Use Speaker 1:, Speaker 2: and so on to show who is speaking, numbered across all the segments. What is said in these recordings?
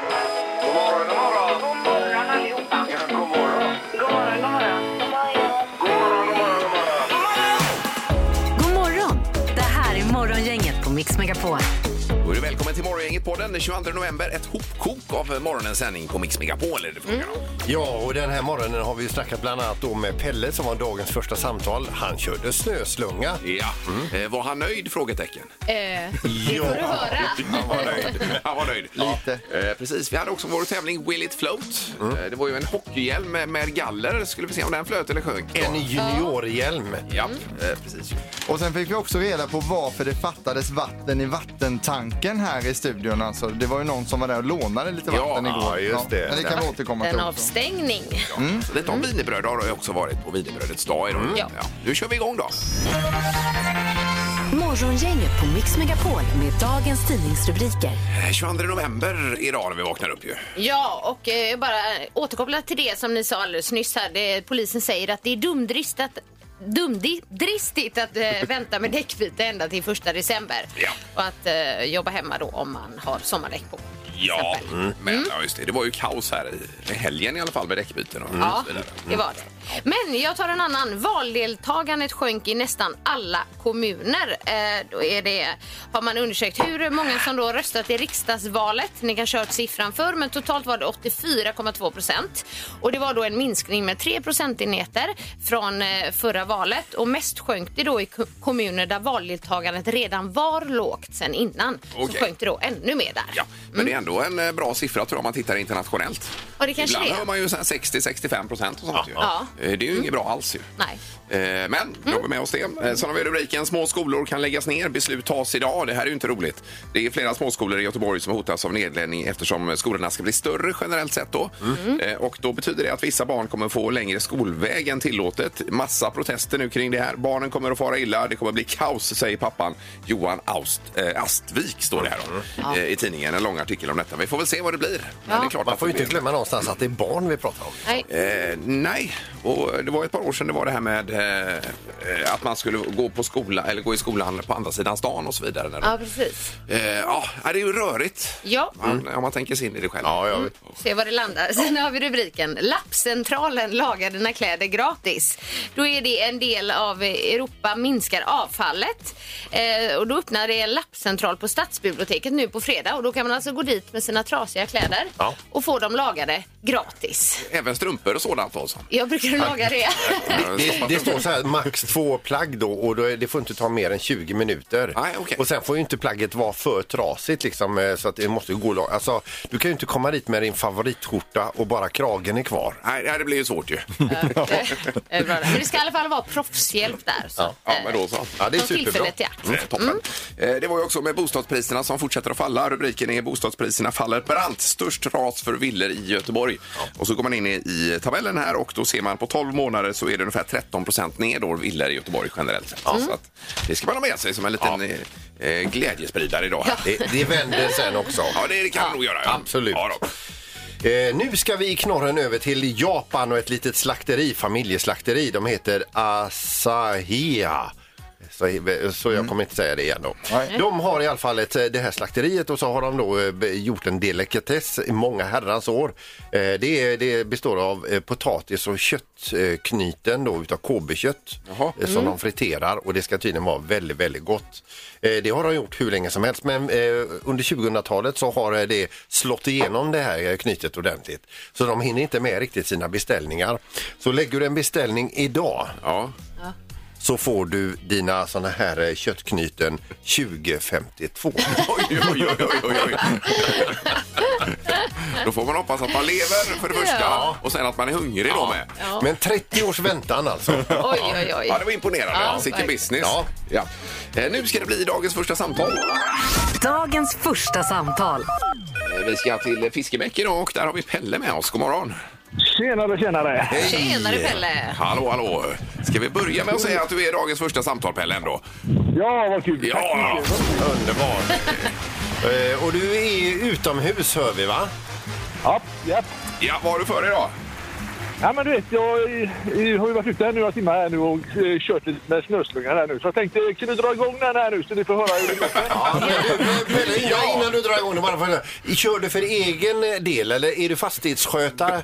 Speaker 1: God morgon, god morgon.
Speaker 2: God morgon allihopa.
Speaker 1: Ja, god morgon.
Speaker 2: God morgon, god morgon.
Speaker 1: God morgon, god morgon,
Speaker 3: God
Speaker 1: god morgon.
Speaker 3: morgon! Det här är Morgongänget på Mix Megapol.
Speaker 4: Då är du välkommen till Morgongänget på den 22 november. Ett hopkok av morgonens sändning på Mix Megapol är det frågan om.
Speaker 5: Ja, och den här morgonen har vi ju snackat bland annat då med Pelle som var dagens första samtal. Han körde snöslunga.
Speaker 4: Ja. Eh, var han nöjd? Frågetecken.
Speaker 6: Eh,
Speaker 5: Ja,
Speaker 4: Han var nöjd. Han var nöjd.
Speaker 5: Lite.
Speaker 4: Ja. Eh, precis. Vi hade också vår tävling Will it float. Eh, det var ju en hockeyhjälm med, med galler. Skulle vi se om den flöt eller sjönk.
Speaker 5: En juniorhjälm.
Speaker 4: Ja, eh, precis.
Speaker 7: Och sen fick vi också reda på varför det fattades vatten i vattentanken här i studion. Alltså, det var ju någon som var där och lånade lite
Speaker 4: Ja,
Speaker 7: vatten igår.
Speaker 5: ja, just det.
Speaker 7: Men det kan vi återkomma till
Speaker 6: en
Speaker 7: också.
Speaker 6: avstängning.
Speaker 4: Så Lite om wienerbröd har jag också varit på wienerbrödets dag idag.
Speaker 6: Ja.
Speaker 4: Nu kör vi igång då.
Speaker 3: Morgongänget på Mix Megapol med dagens tidningsrubriker.
Speaker 4: Eh, 22 november idag när vi vaknar upp ju.
Speaker 6: Ja, och eh, bara återkopplat till det som ni sa alldeles nyss här. Det, polisen säger att det är dumdrist att dumdristigt att eh, vänta med däckbyte ända till första december.
Speaker 4: Ja.
Speaker 6: Och att eh, jobba hemma då om man har sommardäck på.
Speaker 4: Ja,
Speaker 6: exempel.
Speaker 4: Mm. men ja, just det. Det var ju kaos här i i helgen i alla fall med däckbyten och
Speaker 6: Ja,
Speaker 4: så vidare.
Speaker 6: det var det. Men jag tar en annan. Valdeltagandet sjönk i nästan alla kommuner. Eh, då är det, har man undersökt hur många som då röstat i riksdagsvalet. Ni kanske har hört siffran förr, men totalt var det 84,2 procent. Och det var då en minskning med 3 procentenheter från eh, förra valet. Och mest sjönk det då i ko- kommuner där valdeltagandet redan var lågt sen innan.
Speaker 4: Okej.
Speaker 6: Så sjönk det då ännu mer där.
Speaker 4: Ja, men det är ändå en eh, bra siffra tror jag om man tittar internationellt.
Speaker 6: Mm. Ja, det kanske
Speaker 4: Ibland
Speaker 6: det är.
Speaker 4: hör man ju så här 60-65 procent och sånt
Speaker 6: Ja. Mm.
Speaker 4: ju. Eh, Det är ju inget bra alls ju.
Speaker 6: Nej.
Speaker 4: Eh, Men då har vi med oss det. Eh, Sen har vi rubriken Små skolor kan läggas ner. Beslut tas idag. Det här är ju inte roligt. Det är flera småskolor i Göteborg som hotas av nedläggning eftersom skolorna ska bli större generellt sett. Då. Eh, Och då betyder det att vissa barn kommer få längre skolväg än tillåtet. Massa protester nu kring det här. Barnen kommer att fara illa. Det kommer bli kaos, säger pappan Johan Aust, eh, Astvik. Står det här om, eh, i tidningen. En lång artikel om detta. Vi får väl se vad det blir. Men det är klart
Speaker 5: Man
Speaker 4: att
Speaker 5: får ju
Speaker 4: det
Speaker 5: inte
Speaker 4: blir-
Speaker 5: glömma någonstans att det är barn vi pratar om.
Speaker 6: Nej.
Speaker 4: Eh, nej, och det var ett par år sedan det var det här med eh, eh, att man skulle gå på skola eller gå i skolan på andra sidan stan och så vidare. När de-
Speaker 6: Ja, precis.
Speaker 4: eh, ja, det är ju rörigt.
Speaker 6: Ja.
Speaker 4: Man, Om man tänker sig in i det själv. Mm.
Speaker 6: Se var det landar. Sen har vi rubriken Lappcentralen lagar dina kläder gratis. Då är det en del av Europa minskar avfallet. Eh, och då öppnar det en lappcentral på Stadsbiblioteket nu på fredag och då kan man alltså gå dit med sina trasiga kläder
Speaker 5: Ja.
Speaker 6: och få dem lagade gratis.
Speaker 4: Även strumpor och sådant alltså.
Speaker 6: Jag brukar laga det.
Speaker 5: Det, det står så här max två plagg då och då, är- det får inte ta mer än 20 minuter.
Speaker 4: Nej, okej.
Speaker 5: Och sen får ju inte plagget vara för trasigt liksom eh, så att det måste gå långt. Alltså, du kan ju inte komma dit med din favoritskjorta och bara kragen är kvar.
Speaker 4: Nej, det här blir ju svårt ju.
Speaker 6: Det är bra det. Men det ska i alla fall vara proffshjälp där. Så.
Speaker 4: Ja, men då så.
Speaker 5: Ja, det är
Speaker 6: Ta
Speaker 5: superbra.
Speaker 6: tillfället i akt. Mm.
Speaker 4: Eh, Toppen. Eh, Det var ju också med bostadspriserna som fortsätter att falla. Rubriken är bostadspriserna faller brant. Störst ras för villor i Göteborg. Och så går man in i, i tabellen här och då ser man på 12 månader så är det ungefär 13 procent ner då villor i Göteborg generellt sett. Så att det ska man ha med sig som en liten eh, glädjespridare idag. här.
Speaker 5: Det, det vänder sen också.
Speaker 4: Ja, det kan man nog göra. Ja.
Speaker 5: Absolut.
Speaker 4: Ja, då.
Speaker 5: Eh, nu ska vi i knorren över till Japan och ett litet slakteri, familjeslakteri. De heter Asahiya. Så, så jag kommer inte säga det igen då. De har i alla fall ett, eh, det här slakteriet och så har de då eh, be- gjort en delikatess i många herrans år. Eh, Det, är- det består av eh, potatis och köttknyten då utav kobekött
Speaker 4: Jaha.
Speaker 5: eh, som de friterar och det ska tydligen vara väldigt, väldigt gott. Eh, Det har de gjort hur länge som helst men eh, under 2000-talet så har eh, det slått igenom det här eh, knytet ordentligt. Så de hinner inte med riktigt sina beställningar. Så lägger du en beställning idag
Speaker 4: Ja.
Speaker 5: så får du dina såna här eh, köttknyten 2052.
Speaker 4: Oj, oj, oj, oj, oj, oj. Då får man hoppas att man lever för det första
Speaker 6: Ja.
Speaker 4: och sen att man är hungrig då med.
Speaker 5: Men 30 års väntan alltså.
Speaker 6: eh, Oj, oj, oj.
Speaker 4: Ja, det var imponerande.
Speaker 6: Ja,
Speaker 4: Sicken
Speaker 6: verkligen.
Speaker 4: business.
Speaker 5: Ja.
Speaker 4: Ja. Eh, Nu ska det bli dagens första samtal.
Speaker 3: Dagens första samtal.
Speaker 4: Eh, Vi ska till Fiskebäck idag och där har vi Pelle med oss. God morgon.
Speaker 8: Tjenare, tjenare!
Speaker 6: Tjenare Pelle!
Speaker 4: Hallå, hallå. Ska vi börja med att säga att du är dagens första samtal, Pelle, ändå?
Speaker 8: Ja, vad kul! Tack så
Speaker 4: Ja,
Speaker 8: mycket.
Speaker 5: Underbart. Eh, Och du är utomhus hör vi va?
Speaker 8: Ja, ja.
Speaker 4: ja vad har du för dig idag?
Speaker 8: Ja, men du vet, jag, eh, eh, har ju varit ute här nu några timmar här nu och eh, kört lite med snöslungan här nu. Så jag tänkte, kan du dra igång den här nu så ni får höra hur det låter?
Speaker 5: Ja, men du, Pelle, innan, innan du drar igång det bara för, Kör du för egen eh, del eller är du fastighetsskötare?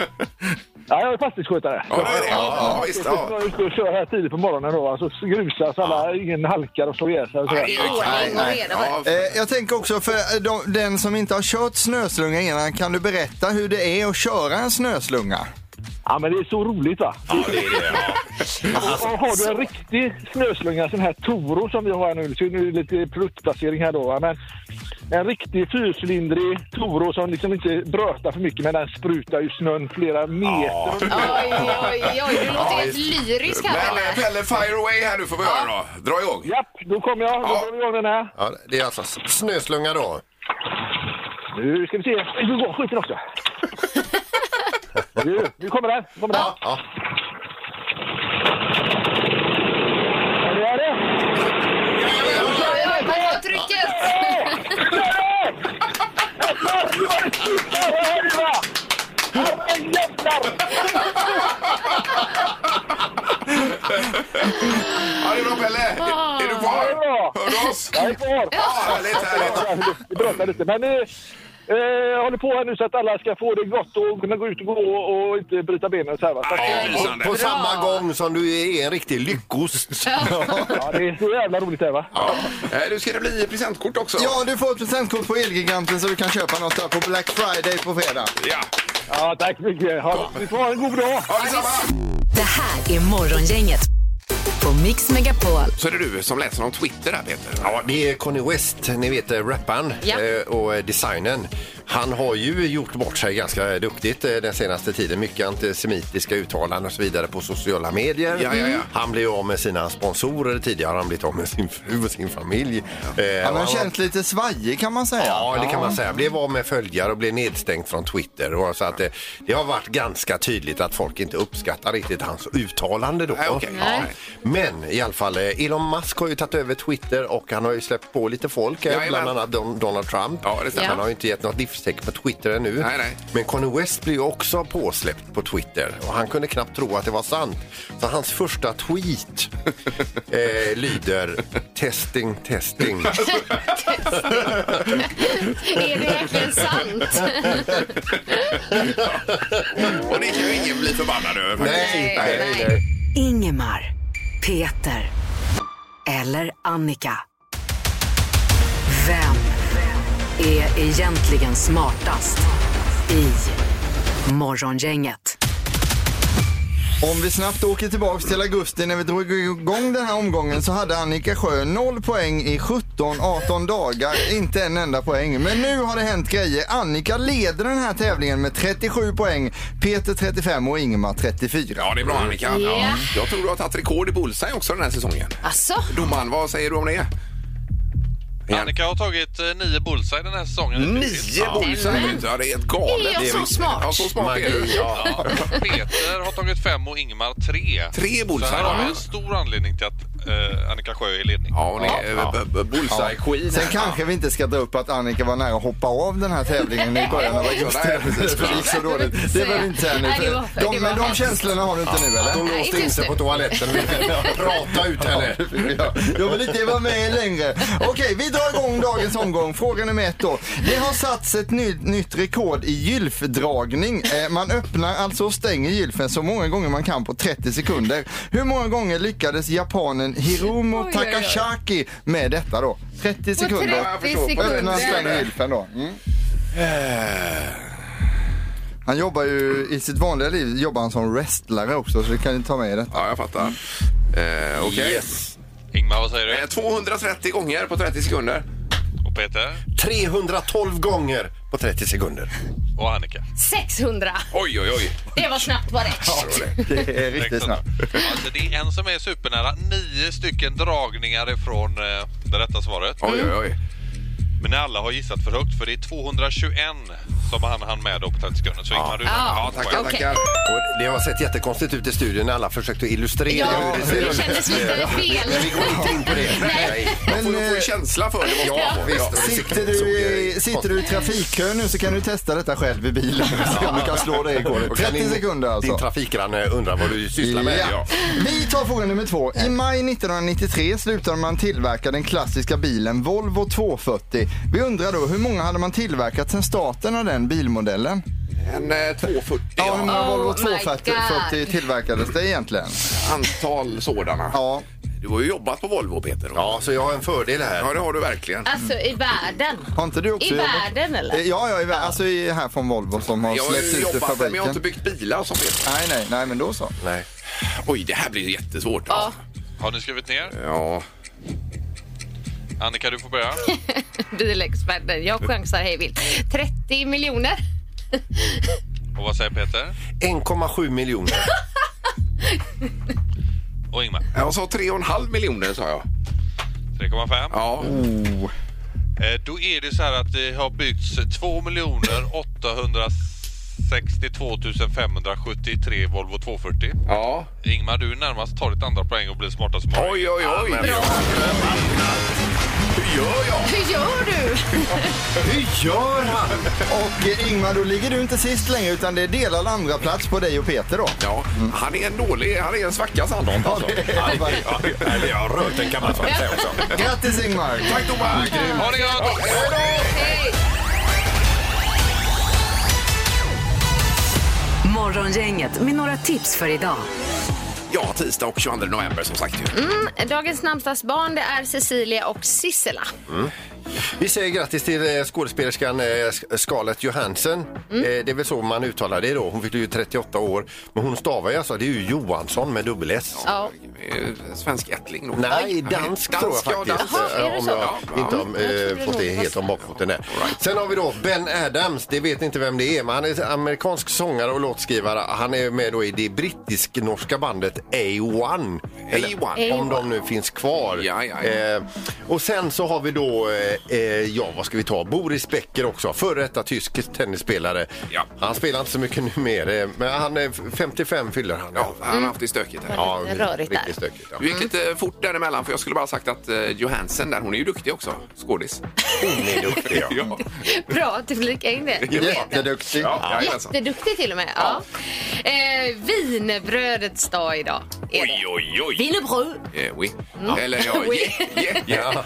Speaker 8: Ja, jag är fastighetsskötare.
Speaker 4: Ja, det är det. ja, ja, visst.
Speaker 8: Jag
Speaker 4: Ja.
Speaker 8: är ute och kör här tidigt på morgonen då, alltså så grusas alla, ingen halkar och slår ihjäl sig och så.
Speaker 4: Ja, det är ju
Speaker 6: Ordning och reda.
Speaker 4: Ja,
Speaker 7: Eh, jag tänker också för eh, de, den som inte har kört snöslunga innan, kan du berätta hur det är att köra en snöslunga?
Speaker 8: Ja, men det är så roligt va?
Speaker 4: ja, det är det. Ja. Alltså-
Speaker 8: Och har du en riktig snöslunga, sån här Toro som vi har här nu, så nu är det lite produktplacering här då. va, Men en riktig fyrcylindrig Toro som liksom inte brötar för mycket, men den sprutar ju snön flera meter.
Speaker 6: Oj, oj, oj. Du låter helt lyrisk här,
Speaker 4: Men eh,
Speaker 6: Pelle.
Speaker 4: Pelle, fire away här nu får vi höra då. Dra igång.
Speaker 8: Japp, då kommer jag. Då
Speaker 4: Ja.
Speaker 8: drar vi igång den här.
Speaker 5: Ja, det är alltså snöslunga då.
Speaker 8: Nu ska vi se. Nu går skiten också. nu, nu kommer den. Nu kommer den.
Speaker 5: Ja.
Speaker 8: Är ni där?
Speaker 6: Oj, oj, vad var trycket?
Speaker 8: Vad är det, va? Herre jävlar!
Speaker 4: Ja, det är bra Pelle. Är du kvar? Hör du oss?
Speaker 8: Jag är kvar.
Speaker 4: Ja, härligt, härligt.
Speaker 8: Det brötar lite. Men eh, eh, håller på här nu så att alla ska få det gott och kunna gå ut och gå och, och inte bryta benen. Så här, va? Så att,
Speaker 4: Ja,
Speaker 5: På,
Speaker 4: lysande.
Speaker 5: på samma gång som du är en riktig lyckost.
Speaker 8: ja, det är så jävla roligt här va?
Speaker 4: Ja. Eh, Nu ska det bli presentkort också.
Speaker 7: Ja, du får ett presentkort på Elgiganten så du kan köpa något där på Black Friday på fredag.
Speaker 4: Ja.
Speaker 8: Ja, tack så mycket. Ha, ni får ha en god dag.
Speaker 4: Ja, detsamma.
Speaker 3: Det här är Morgongänget på Mix Megapol.
Speaker 4: Så är det du som läser om Twitter där Peter.
Speaker 5: Ja, det är Conny West, ni vet eh, rapparen
Speaker 6: Ja.
Speaker 5: eh, och eh, designern. Han har ju gjort bort sig ganska duktigt eh, den senaste tiden. Mycket antisemitiska uttalanden och så vidare på sociala medier.
Speaker 4: Ja, ja, ja.
Speaker 5: Han blev av med sina sponsorer tidigare. Han har blivit av med sin fru och sin familj. Eh,
Speaker 7: Han
Speaker 5: och
Speaker 7: har känt lite svajig kan man säga.
Speaker 5: Ja, det kan man säga. Blev av med följare och blev nedstängt från Twitter. Och så att det, det har varit ganska tydligt att folk inte uppskattar riktigt hans uttalande då.
Speaker 4: Nej, okej.
Speaker 5: Ja.
Speaker 4: Nej.
Speaker 5: Men i alla fall, eh, Elon Musk har ju tagit över Twitter och han har ju släppt på lite folk, eh,
Speaker 4: Jajamän.
Speaker 5: bland annat Don- Donald Trump.
Speaker 4: Ja, det stämmer.
Speaker 5: Han har ju inte gett något livstecken på Twitter ännu.
Speaker 4: Nej, nej.
Speaker 5: Men Kanye West blev ju också påsläppt på Twitter och han kunde knappt tro att det var sant. Så hans första tweet eh, lyder testing, testing.
Speaker 6: Är det verkligen sant?
Speaker 4: Och det kan ju ingen bli förbannad över faktiskt.
Speaker 5: Nej, nej, nej.
Speaker 3: Ingemar, Peter eller Annika. Vem är egentligen smartast i Morgongänget?
Speaker 7: Om vi snabbt åker tillbaks till augusti när vi drog igång den här omgången så hade Annika Sjö 0 poäng i 17-18 dagar, inte en enda poäng. Men nu har det hänt grejer. Annika leder den här tävlingen med 37 poäng, Peter 35 och Ingemar 34.
Speaker 4: Ja, det är bra Annika. Ja. Jag tror du har tagit rekord i bullseye också den här säsongen.
Speaker 6: Alltså,
Speaker 4: Domaren, vad säger du om det?
Speaker 9: Annika har tagit eh, nio bullseye den här säsongen.
Speaker 4: Nio bullseye! Ja, det är helt galet.
Speaker 6: Är jag
Speaker 4: Det
Speaker 6: så smart?
Speaker 4: Ja, så smart är du.
Speaker 5: Magi, ja.
Speaker 9: Peter har tagit fem och Ingmar tre.
Speaker 4: Tre bullseye,
Speaker 9: Så här har
Speaker 4: ja.
Speaker 9: vi en stor anledning till att eh, Annika Sjö är i ledning.
Speaker 4: Ja, hon är eh, b- b- bullseye-queen.
Speaker 7: Sen kanske vi inte ska dra upp att Annika var nära att hoppa av den här tävlingen i början av augusti.
Speaker 4: Nej, precis.
Speaker 7: För det gick så dåligt. Det behöver vi inte säga nu.
Speaker 6: Nej, det var-
Speaker 7: för De,
Speaker 6: det var
Speaker 7: men de
Speaker 6: hemskt.
Speaker 7: känslorna har du inte nu eller?
Speaker 5: Hon låste
Speaker 6: inte
Speaker 5: in
Speaker 6: just
Speaker 5: sig
Speaker 6: nu.
Speaker 5: på toaletten. Prata ut henne.
Speaker 7: Ja, Jag vill inte vara med längre. Okej, vi drar igång dagens omgång. Fråga nummer ett då. Det har satts ett ny, nytt rekord i gylfdragning. Eh, Man öppnar alltså och stänger gylfen så många gånger man kan på 30 sekunder. Hur många gånger lyckades japanen Hiromo
Speaker 6: oj, oj.
Speaker 7: Takasaki med detta då? 30 sekunder.
Speaker 6: 30
Speaker 7: Öppna och
Speaker 6: sekunder.
Speaker 7: stäng gylfen då. Mm.
Speaker 4: Eh,
Speaker 7: Han jobbar ju, i sitt vanliga liv jobbar han som wrestlare också så det kan ni ta med i detta.
Speaker 4: Ja, jag fattar. Eh, Okej.
Speaker 9: Ingmar, vad säger
Speaker 4: Eh,
Speaker 9: du?
Speaker 4: 230 gånger på 30 sekunder.
Speaker 9: Och Peter?
Speaker 5: 312 gånger på 30 sekunder.
Speaker 9: Och Annika?
Speaker 6: 600.
Speaker 4: Oj, oj, oj.
Speaker 6: Det var snabbt var rätt.
Speaker 7: Det är riktigt
Speaker 9: Direkt
Speaker 7: snabbt.
Speaker 9: under. Alltså, det är en som är supernära. Nio stycken dragningar ifrån eh, det rätta svaret.
Speaker 4: Oj, oj, oj.
Speaker 9: Men när alla har gissat för högt, för det är 221 som han hann med då på 30 sekunder. Så Ingmar, du
Speaker 4: Ja, tackar,
Speaker 6: Okej.
Speaker 4: tackar.
Speaker 5: Och det har sett jättekonstigt ut i studion när alla försökte illustrera
Speaker 6: Ja,
Speaker 5: hur det ser
Speaker 6: det
Speaker 5: ut.
Speaker 6: kändes lite fel.
Speaker 5: Vi går inte in på det.
Speaker 6: Nej.
Speaker 4: Man får
Speaker 7: Men,
Speaker 4: ju få en
Speaker 7: eh,
Speaker 4: känsla för det.
Speaker 5: Ja, visst.
Speaker 7: Sitter du,
Speaker 5: eh,
Speaker 7: i, sitter du i trafikkö nu så kan du testa detta själv i bilen. Se om du kan slå det igår.
Speaker 5: Och kan
Speaker 7: 30
Speaker 5: din-
Speaker 7: sekunder alltså.
Speaker 5: Din trafikgranne undrar vad du sysslar med.
Speaker 7: Ja. Vi tar fråga nummer två. I maj 1993 slutade man tillverka den klassiska bilen Volvo 240. Vi undrar då, hur många hade man tillverkat sedan starten av den bilmodellen?
Speaker 4: En eh, 240
Speaker 7: Ja, hur
Speaker 4: ja.
Speaker 7: många
Speaker 6: Oh
Speaker 7: Volvo
Speaker 6: my
Speaker 7: 240
Speaker 6: God.
Speaker 7: tillverkades det egentligen?
Speaker 4: antal sådana.
Speaker 7: Ja,
Speaker 4: Du har ju jobbat på Volvo, Peter.
Speaker 5: Ja, så jag har en fördel
Speaker 4: Ja,
Speaker 5: här.
Speaker 4: det har du verkligen.
Speaker 6: Alltså i världen.
Speaker 7: har inte du också
Speaker 6: I
Speaker 7: jobbat?
Speaker 6: världen, eller?
Speaker 7: Eh, Ja, ja, i världen. Alltså i, här från Volvo som har
Speaker 4: Jag har
Speaker 7: släppts
Speaker 4: ju
Speaker 7: ut ur
Speaker 4: jobbat där, men jag har inte
Speaker 7: fabriken.
Speaker 4: byggt bilar som Peter.
Speaker 7: Nej, nej, nej, men då så.
Speaker 5: Nej.
Speaker 4: Oj, det här blir jättesvårt. alltså.
Speaker 6: Ja.
Speaker 9: har ni skrivit ner?
Speaker 4: Ja.
Speaker 9: Annika, du får börja.
Speaker 6: Bilexperten. Jag chansar hej vilt. 30 miljoner.
Speaker 9: Och vad säger Peter?
Speaker 5: 1,7 miljoner.
Speaker 9: Och Ingmar?
Speaker 4: Jag sa 3,5 miljoner, sa jag.
Speaker 9: 3,5.
Speaker 4: Ja.
Speaker 9: Eh, Då är det så här att det har byggts 2 862 573 Volvo 240.
Speaker 4: ja.
Speaker 9: Ingmar, du är närmast. Ta ditt andra poäng och bli smartast som har.
Speaker 4: Oj, oj, oj. Hur gör jag?
Speaker 6: Hur gör du?
Speaker 5: Hur gör han?
Speaker 7: Och eh, Ingmar, då ligger du inte sist längre utan det är delad andra plats på dig och Peter då.
Speaker 4: Ja, han är en dålig, han är en svacka Sandholt alltså.
Speaker 5: Ja, eller jag har rört den kan man väl säga också.
Speaker 7: Grattis Ingmar!
Speaker 4: Tack domaren!
Speaker 9: Ha det gott!
Speaker 3: Morgongänget med några tips för idag.
Speaker 4: Ja, tisdag och 22 november som sagt ju.
Speaker 6: Mm, Dagens namnsdagsbarn det är Cecilia och Sissela.
Speaker 5: Vi säger grattis till eh, skådespelerskan eh, Sk- Scarlett Johansson. Eh, Det är väl så man uttalar det då. Hon fyllde ju 38 år. Men hon stavar ju alltså, det är ju Johansson med dubbel S.
Speaker 6: Ja.
Speaker 4: Eh, Svensk ättling nog.
Speaker 5: Nej, dansk tror jag
Speaker 4: ja,
Speaker 5: faktiskt. Eh,
Speaker 4: dansk.
Speaker 6: Jaha, är det
Speaker 5: om
Speaker 6: så?
Speaker 5: jag
Speaker 4: Ja, ja.
Speaker 5: inte om,
Speaker 6: Jag trodde
Speaker 5: eh, fått det
Speaker 6: det var
Speaker 5: helt om bakfoten där. Sen har vi då Ben Adams. Det vet inte vem det är, men han är amerikansk sångare och låtskrivare. Han är med då i det brittisk-norska bandet A1. Eller,
Speaker 4: A1.
Speaker 5: Om de nu finns kvar.
Speaker 4: Ja, ja, ja.
Speaker 5: Eh, och sen så har vi då, eh, eh, ja vad ska vi ta? Boris Becker också. Före detta tysk tennisspelare.
Speaker 4: Ja.
Speaker 5: Han spelar inte så mycket numera, eh, men han är 55 fyller han.
Speaker 4: Ja, han har haft det stökigt
Speaker 6: Mm.
Speaker 4: här.
Speaker 5: Ja,
Speaker 6: Lite rörigt där.
Speaker 5: riktigt stökigt. Ja.
Speaker 4: Du gick lite fort däremellan för jag skulle bara sagt att eh, Johansen där, hon är ju duktig också, skådis.
Speaker 5: Hon är duktig, ja.
Speaker 4: Ja,
Speaker 6: Bra att du flika in det.
Speaker 7: Jätteduktig.
Speaker 4: ja, jajamensan.
Speaker 6: Jätteduktig till och med. Ja. Eh, Wienerbrödets dag idag. Är
Speaker 4: Oj,
Speaker 6: det.
Speaker 4: oj, oj.
Speaker 6: Wienerbröd.
Speaker 4: Eh, oui. Eller ja,
Speaker 6: Oui.
Speaker 4: yeah, yeah, yeah.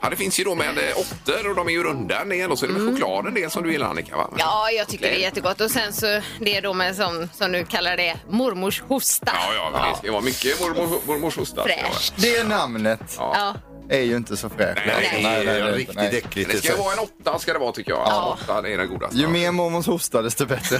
Speaker 4: Ja, det finns ju då med eh, åttor och de är ju runda en del och så är det med chokladen det som du gillar Annika va?
Speaker 6: Mm. Ja, jag tycker det är
Speaker 4: Okej.
Speaker 6: jättegott. Och sen så det är då med som, som du kallar det, mormors hosta.
Speaker 4: Ja, ja, men det ska ju vara mycket mormor- mormors hosta.
Speaker 6: Fräscht.
Speaker 7: Det namnet
Speaker 6: Ja.
Speaker 7: är ju inte så fräscht.
Speaker 4: Nej,
Speaker 7: Alltså,
Speaker 4: det är
Speaker 7: det är det inte.
Speaker 5: riktigt äckligt.
Speaker 4: Det ska ju vara en åtta ska det vara tycker jag. Ja. Åtta det är den godaste.
Speaker 7: Ju mer mormons hosta desto bättre.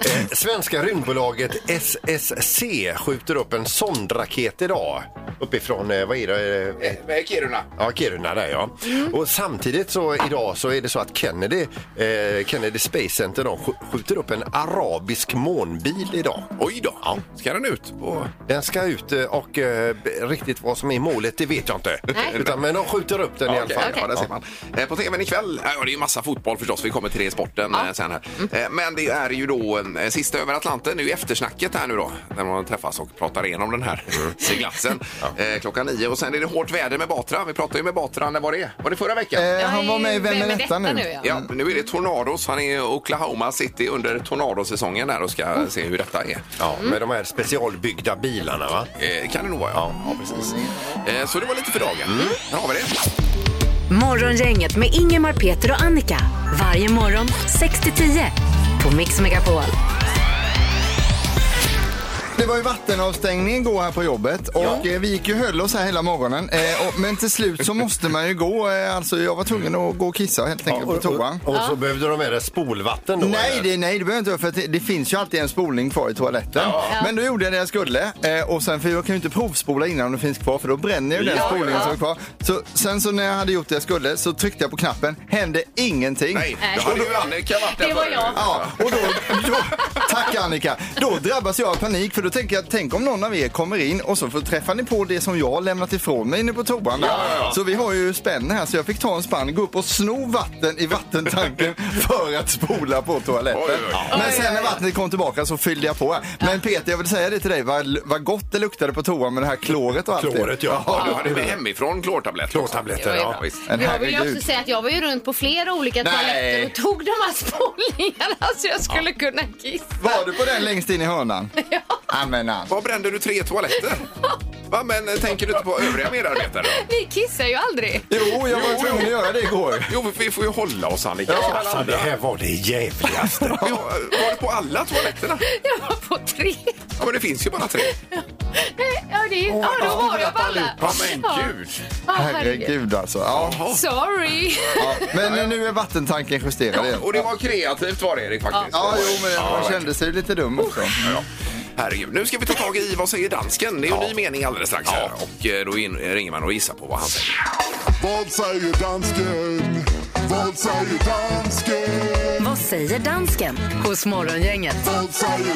Speaker 5: Eh, Svenska rymdbolaget SSC skjuter upp en sondraket idag uppifrån, eh, vad är det? Eh,
Speaker 4: Med Kiruna.
Speaker 5: Ja, Kiruna där ja.
Speaker 4: Mm.
Speaker 5: Och samtidigt så idag så är det så att Kennedy, eh, Kennedy Space Center de sk- skjuter upp en arabisk månbil idag.
Speaker 4: Oj då. Ska den ut? Och...
Speaker 5: Den ska ut eh, och eh, b- riktigt vad som är målet det vet jag inte.
Speaker 6: Nej.
Speaker 5: Utan, men de skjuter upp den i
Speaker 4: Ja,
Speaker 5: alla
Speaker 4: okej,
Speaker 5: fall.
Speaker 4: ja, där ser man. Eh, På tvn ikväll, ja, det är ju massa fotboll förstås, vi kommer till det i sporten eh, sen här. Eh, Men det är ju då eh, sista över Atlanten, nu i eftersnacket här nu då, när man träffas och pratar igenom den här seglatsen eh, klockan nio. Och sen är det hårt väder med Batra, vi pratade ju med Batra, när var det? Var det förra veckan?
Speaker 7: Eh, han var med i Vem är detta nu?
Speaker 6: ja.
Speaker 4: Ja, men nu är det tornados. Han är i Oklahoma City under tornadosäsongen där och ska se hur detta är.
Speaker 5: Ja, med de här specialbyggda bilarna va?
Speaker 4: Eh, kan det nog vara, ja. ja precis. Eh, så det var lite för dagen. Här har vi det.
Speaker 3: Morgongänget med Ingemar, Peter och Annika. Varje morgon 6 till 10 på Mix Megapol.
Speaker 7: Det var ju vattenavstängning igår här på jobbet och eh, vi gick ju höll oss här hela morgonen. Eh, och, men till slut så måste man ju gå. Eh, alltså jag var tvungen att gå och kissa helt enkelt på toa.
Speaker 5: och, och så behövde de med det spolvatten då?
Speaker 7: Nej
Speaker 5: eller?
Speaker 7: det, nej, det behöver jag inte göra, för att det, det finns ju alltid en spolning kvar i toaletten. Men då gjorde jag det jag skulle eh, och sen för jag kan ju inte provspola innan om det finns kvar för då bränner ju den spolningen som är kvar. Så, sen så när jag hade gjort det jag skulle så tryckte jag på knappen, hände ingenting.
Speaker 4: Nej, Eh, då hade ju Annika varit där
Speaker 6: Det var
Speaker 4: förut.
Speaker 6: jag.
Speaker 7: Ja, och då, då, tack Annika. Då drabbas jag av panik för då då tänker jag, tänk om någon av er kommer in och så får träffar ni på det som jag har lämnat ifrån mig inne på toan. där. Så vi har ju spänn här så jag fick ta en spann, gå upp och sno vatten i vattentanken för att spola på toaletten.
Speaker 4: Oj, oj, oj.
Speaker 7: Men sen när vattnet kom tillbaka så fyllde jag på här. Men Peter, jag vill säga det till dig, vad, vad gott det luktade på toan med det här kloret och allt det.
Speaker 5: Kloret, ja.
Speaker 4: Ja, du hade med hemifrån klortabletter.
Speaker 5: Klortabletter,
Speaker 6: ja.
Speaker 4: visst.
Speaker 7: Men
Speaker 6: Jag vill ju
Speaker 7: herregud.
Speaker 6: också säga att jag var ju runt på flera olika
Speaker 7: Nej.
Speaker 6: toaletter och tog de här spolningarna så jag skulle kunna kissa.
Speaker 7: Var du på den längst in i hörnan? Ja. Amen, alltså.
Speaker 4: Vad brände du tre toaletter? Va, men eh, tänker du inte på övriga medarbetare? då?
Speaker 6: Ni kissar ju aldrig.
Speaker 7: Jo, jag var tvungen att göra det igår.
Speaker 4: Jo, vi får ju hålla oss Annika. som alla
Speaker 5: Alltså,
Speaker 4: andra.
Speaker 5: det här var det jävligaste.
Speaker 4: Vi har eh, varit på alla toaletterna.
Speaker 6: Jag var på tre.
Speaker 4: Ja, men det finns ju bara tre.
Speaker 6: Nej, Ja, det, ja då var jag på alla.
Speaker 4: Ja, men
Speaker 6: Ja.
Speaker 4: gud.
Speaker 6: Ja, herregud.
Speaker 7: Herregud alltså. Ja.
Speaker 6: Sorry.
Speaker 7: Ja. Men nu är vattentanken justerad igen.
Speaker 4: Och det var kreativt var det Erik faktiskt.
Speaker 7: Ja, jo, men jag
Speaker 4: verkligen.
Speaker 7: kände sig lite dum också.
Speaker 4: Herregud, nu ska vi ta tag i vad säger dansken? Det är ju en ny mening alldeles strax här. Och eh, då in, ringer man och gissar på vad han säger.
Speaker 10: Vad säger dansken? Vad säger dansken?
Speaker 3: Vad säger dansken hos Morgongänget?
Speaker 10: Vad säger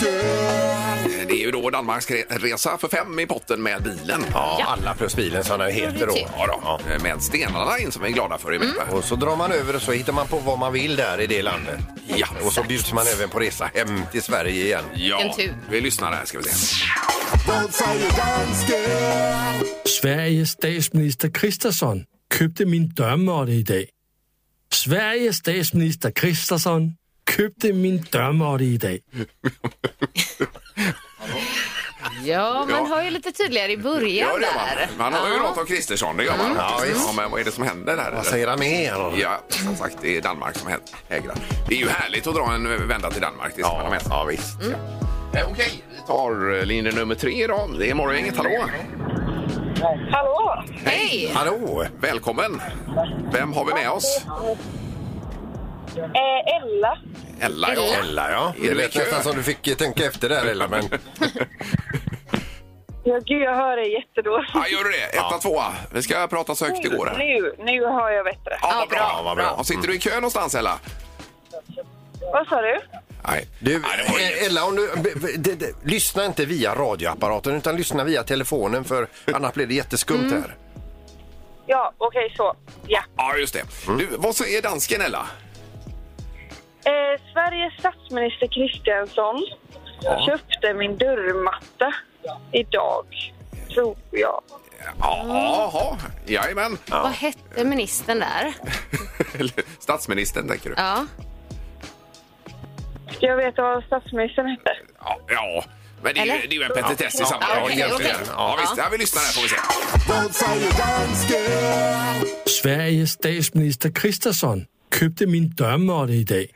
Speaker 10: dansken?
Speaker 4: Eh, Det är ju då Danmarks re- resa för fem i potten med bilen.
Speaker 5: Ja, alla plus bilen som den heter då. Mm.
Speaker 4: Ja, då. Eh, Med stenarna in som vi är glada för i veckan.
Speaker 5: Och så drar man över och så hittar man på vad man vill där i det landet.
Speaker 4: Ja.
Speaker 5: Och så bjuds man även på resa hem till Sverige igen.
Speaker 4: Ja,
Speaker 6: Vilken tur.
Speaker 4: vi lyssnar här ska vi se.
Speaker 10: Vad säger dansken?
Speaker 11: Sveriges statsminister Kristersson köpte min dörrmatte idag. Sveriges statsminister Kristersson köpte min dörrmatte idag.
Speaker 6: Ja, man hör ju lite tydligare i
Speaker 4: Ja,
Speaker 6: början
Speaker 4: det gör man.
Speaker 6: där.
Speaker 4: Man har ju något om Kristersson, det gör man. Ja,
Speaker 5: visst.
Speaker 4: men vad är det som händer där?
Speaker 5: Vad säger han mer?
Speaker 4: Ja, som sagt, det är Danmark som hä- hägrar. Det är ju härligt att dra en vända till Danmark. Det ska man ha med sig.
Speaker 5: ja visst.
Speaker 4: Eh, Okej, vi tar eh, linje nummer tre idag. Det är Morgongänget, hallå!
Speaker 2: Hallå!
Speaker 6: Hej!
Speaker 5: Hallå!
Speaker 4: Välkommen! Vem har vi med oss?
Speaker 2: Eh, Ella.
Speaker 4: Ella, ja.
Speaker 5: Ella ja.
Speaker 4: Är
Speaker 5: Det
Speaker 4: det
Speaker 5: lät
Speaker 4: kö?
Speaker 5: nästan som du fick eh, tänka efter där Ella men
Speaker 2: Ja, gud, jag hör dig jättedåligt.
Speaker 4: Ja, gör du det? Etta, tvåa. Vi ska prata så högt det går. här.
Speaker 2: Nu, nu hör jag bättre.
Speaker 4: Ja, vad bra.
Speaker 5: Ja, vad bra.
Speaker 4: Ja, Sitter du i kö någonstans, Ella?
Speaker 2: Vad sa du?
Speaker 4: Nej.
Speaker 5: du
Speaker 4: Nej, det var inget.
Speaker 5: eh, Ella om du, b- b- d- d- lyssna inte via radioapparaten utan lyssna via telefonen för annars blir det jätteskumt här.
Speaker 2: Ja, okej så. Ja.
Speaker 4: Ja, just det. Du, vad säger dansken, Ella?
Speaker 2: Eh, Sveriges statsminister Kristiansson köpte min dörrmatta idag, tror jag.
Speaker 4: Ja, Jaha, jajamän.
Speaker 6: Vad hette ministern där?
Speaker 4: Eller Statsministern, tänker du?
Speaker 6: Ja.
Speaker 2: Ska jag veta vad statsministern hette?
Speaker 4: Ja. ja. Men det är, ju,
Speaker 6: Eller?
Speaker 4: det är ju en petitess i
Speaker 6: Ja,
Speaker 4: sammanhanget.
Speaker 6: okej,
Speaker 4: egentligen.
Speaker 6: okej.
Speaker 4: Ja, visst. Ja, vi lyssnar här får vi se.
Speaker 10: Vad säger dansken?
Speaker 11: Sveriges statsminister Kristersson köpte min dörrmatte idag.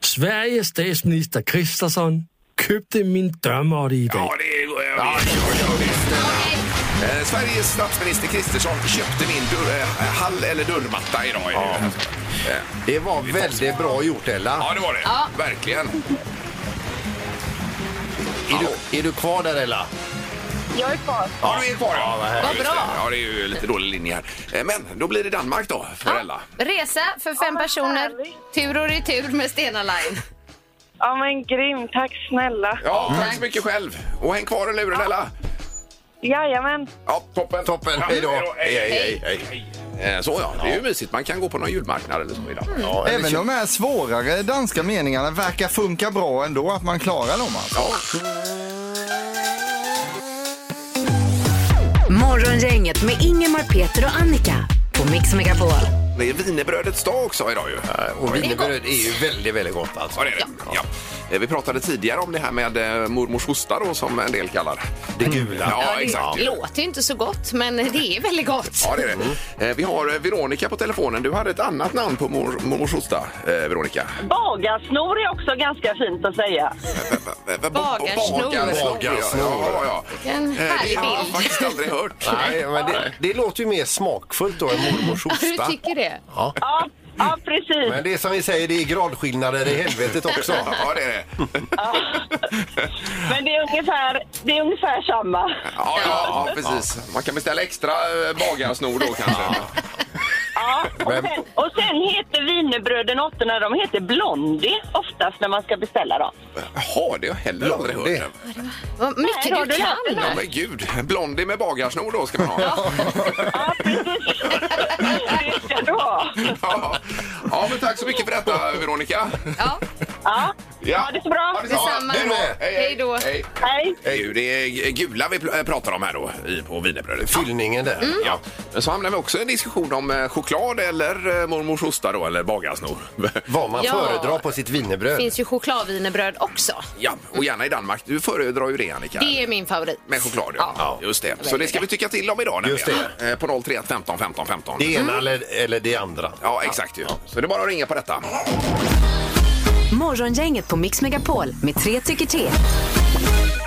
Speaker 11: Sveriges statsminister Kristersson köpte min dörrmatte idag.
Speaker 4: Ja, det är... Ja, Eh, Sveriges statsminister Kristersson köpte min dörr, eh, hall eller dörrmatta idag. är det ju. Eh,
Speaker 5: Det var väldigt bra gjort Ella.
Speaker 4: ja, det var det. Verkligen.
Speaker 5: Är du, är du kvar där Ella?
Speaker 2: Jag är kvar.
Speaker 4: Ja, du är kvar. Ja,
Speaker 6: Vad
Speaker 4: Just det.
Speaker 6: bra.
Speaker 4: Ja, det är ju lite dålig linje här. Eh, Men då blir det Danmark då, för Ella.
Speaker 6: Resa för fem
Speaker 2: men
Speaker 6: personer,
Speaker 2: härligt.
Speaker 6: tur och retur med Stena Line.
Speaker 2: Ja, men grym. Tack snälla.
Speaker 4: Ja, tack så mycket själv. Och häng kvar i luren, Ella.
Speaker 2: Jajamän.
Speaker 4: Ja, toppen.
Speaker 5: Toppen,
Speaker 4: Ja,
Speaker 5: hej då.
Speaker 4: Hej, hej, hej.
Speaker 5: hej.
Speaker 4: Eh, Så ja, det är ju mysigt. Man kan gå på någon julmarknad eller så idag.
Speaker 5: Ja, eller
Speaker 7: Även de här svårare danska meningarna verkar funka bra ändå, att man klarar dem alltså.
Speaker 4: Ja.
Speaker 3: Morgongänget med Ingemar, Peter och Annika på Mix Megapol.
Speaker 4: Det är wienerbrödets dag också idag ju.
Speaker 5: Och wienerbröd är ju väldigt, väldigt gott alltså.
Speaker 4: Ja, det är det. Ja. Eh, Vi pratade tidigare om det här med eh, mormors hosta då, som en del kallar
Speaker 5: Det gula.
Speaker 4: Ja,
Speaker 6: det
Speaker 4: exakt.
Speaker 6: låter ju inte så gott, men det är väldigt gott.
Speaker 4: Ja, det är det.
Speaker 5: Mm.
Speaker 4: Eh, Vi har eh, Veronica på telefonen. Du hade ett annat namn på mor- mormors hosta, eh, Veronica.
Speaker 2: Bagarsnor är också ganska fint att säga.
Speaker 6: Bagarsnor.
Speaker 4: Bagarsnor. Ja, ja, ja.
Speaker 6: Vilken
Speaker 4: Eh,
Speaker 6: härlig
Speaker 4: Det har jag
Speaker 6: bild.
Speaker 4: faktiskt aldrig hört.
Speaker 5: Nej, men det, det låter ju mer smakfullt då än mormors
Speaker 6: Ja, du
Speaker 5: hosta.
Speaker 6: tycker det?
Speaker 2: Ja, ja precis.
Speaker 5: Men det är som vi säger, det är gradskillnader i helvetet också.
Speaker 4: Ja, det är det.
Speaker 2: Men det är ungefär, det är ungefär samma.
Speaker 4: Ja, ja, ja, precis. Man kan beställa extra eh, bagarsnor då kanske.
Speaker 2: Ja, och,
Speaker 5: Men-
Speaker 2: sen, och sen heter wienerbröden åttorna, de heter Blondie oftast när man ska beställa dem.
Speaker 4: Jaha, det har jag heller aldrig hört.
Speaker 5: Blondie.
Speaker 6: Vad mycket
Speaker 2: har
Speaker 6: du
Speaker 2: du lärt dig
Speaker 6: kan!
Speaker 4: Ja, men gud. Blondie med bagarsnor då ska man ha.
Speaker 2: Ja, precis. Det ska du ha.
Speaker 4: Ja. ja, men tack så mycket för detta, Veronica.
Speaker 6: Ja,
Speaker 2: Ja, ha det så bra.
Speaker 6: detsamma.
Speaker 5: hej då.
Speaker 6: Hej då.
Speaker 4: Hej.
Speaker 2: Hej.
Speaker 4: Hej. Det är gula vi pl- eh, pratar om här då i- på wienerbrödet.
Speaker 5: Fyllningen där.
Speaker 4: Ja. Men så hamnar vi också i en diskussion om eh, choklad eller eh, mormors hosta då, eller bagarsnor.
Speaker 5: Vad man
Speaker 6: Ja.
Speaker 5: föredrar på sitt
Speaker 6: Det
Speaker 5: wienerbröd.
Speaker 6: finns ju chokladvinerbröd också.
Speaker 4: ja, och gärna i Danmark. Du föredrar ju det, Annika.
Speaker 6: Det är min favorit.
Speaker 4: Med choklad, ja. Just det. Så det ska vi tycka till om idag
Speaker 5: Just
Speaker 4: nämligen. Eh, På 031 15 15 15.
Speaker 5: Det ena eller, eller det andra.
Speaker 4: Ja, exakt ju. Så det är bara att ringa på detta.
Speaker 3: Morgongänget på Mix Megapol med tre tycker till.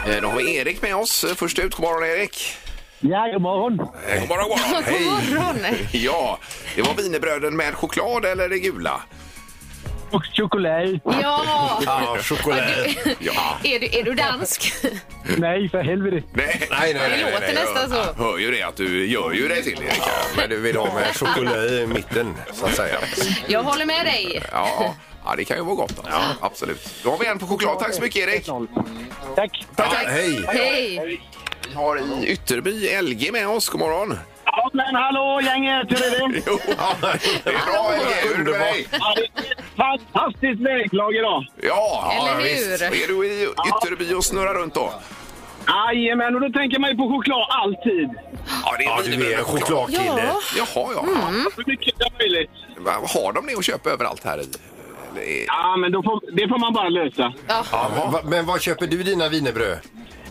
Speaker 4: Eh, Då har vi Erik med oss eh, först ut. God morgon, Erik.
Speaker 8: Ja, god morgon.
Speaker 4: Eh, God morgon, god morgon.
Speaker 6: God morgon!
Speaker 4: Ja, det var wienerbröden med choklad eller det gula?
Speaker 8: Och choklad.
Speaker 6: Ja!
Speaker 5: Ja, choklad.
Speaker 4: Ja.
Speaker 6: Är du, är du dansk?
Speaker 8: Nej, för helvete.
Speaker 4: Nej,
Speaker 5: Nej, nej,
Speaker 6: Det
Speaker 5: nej.
Speaker 6: låter nästan
Speaker 4: jag
Speaker 6: så.
Speaker 4: hör ju det att du gör ju det till Erik.
Speaker 5: Men du vill ha med choklad i mitten, så att säga.
Speaker 6: Jag håller med dig.
Speaker 4: Ja, ja, det kan ju vara gott. Alltså. Absolut. Då har vi en på choklad. Tack så mycket, Erik.
Speaker 8: Tack.
Speaker 5: Ja, hej!
Speaker 6: Hej!
Speaker 4: Vi har i Ytterby LG med oss. God morgon.
Speaker 8: Ja, men hallå gänget, hur är det?
Speaker 4: Jo, det är bra, LG. Hur är det med dig?
Speaker 8: Ja, det är ett Fantastiskt väglag idag.
Speaker 4: Ja,
Speaker 6: Eller hur?
Speaker 4: visst. Är du i Ytterby och snurrar runt då?
Speaker 8: Jajamän, och då tänker man ju på choklad alltid.
Speaker 4: Ja, det är
Speaker 5: Ja, du är en chokladkille.
Speaker 6: Ja,
Speaker 4: Jaha, ja.
Speaker 6: Mm.
Speaker 8: Så mycket som möjligt.
Speaker 4: Va, Har de det att köpa överallt här i? Eller är-
Speaker 8: Ja, men då får, det får man bara lösa.
Speaker 5: Ja, men va- men var köper du dina wienerbröd?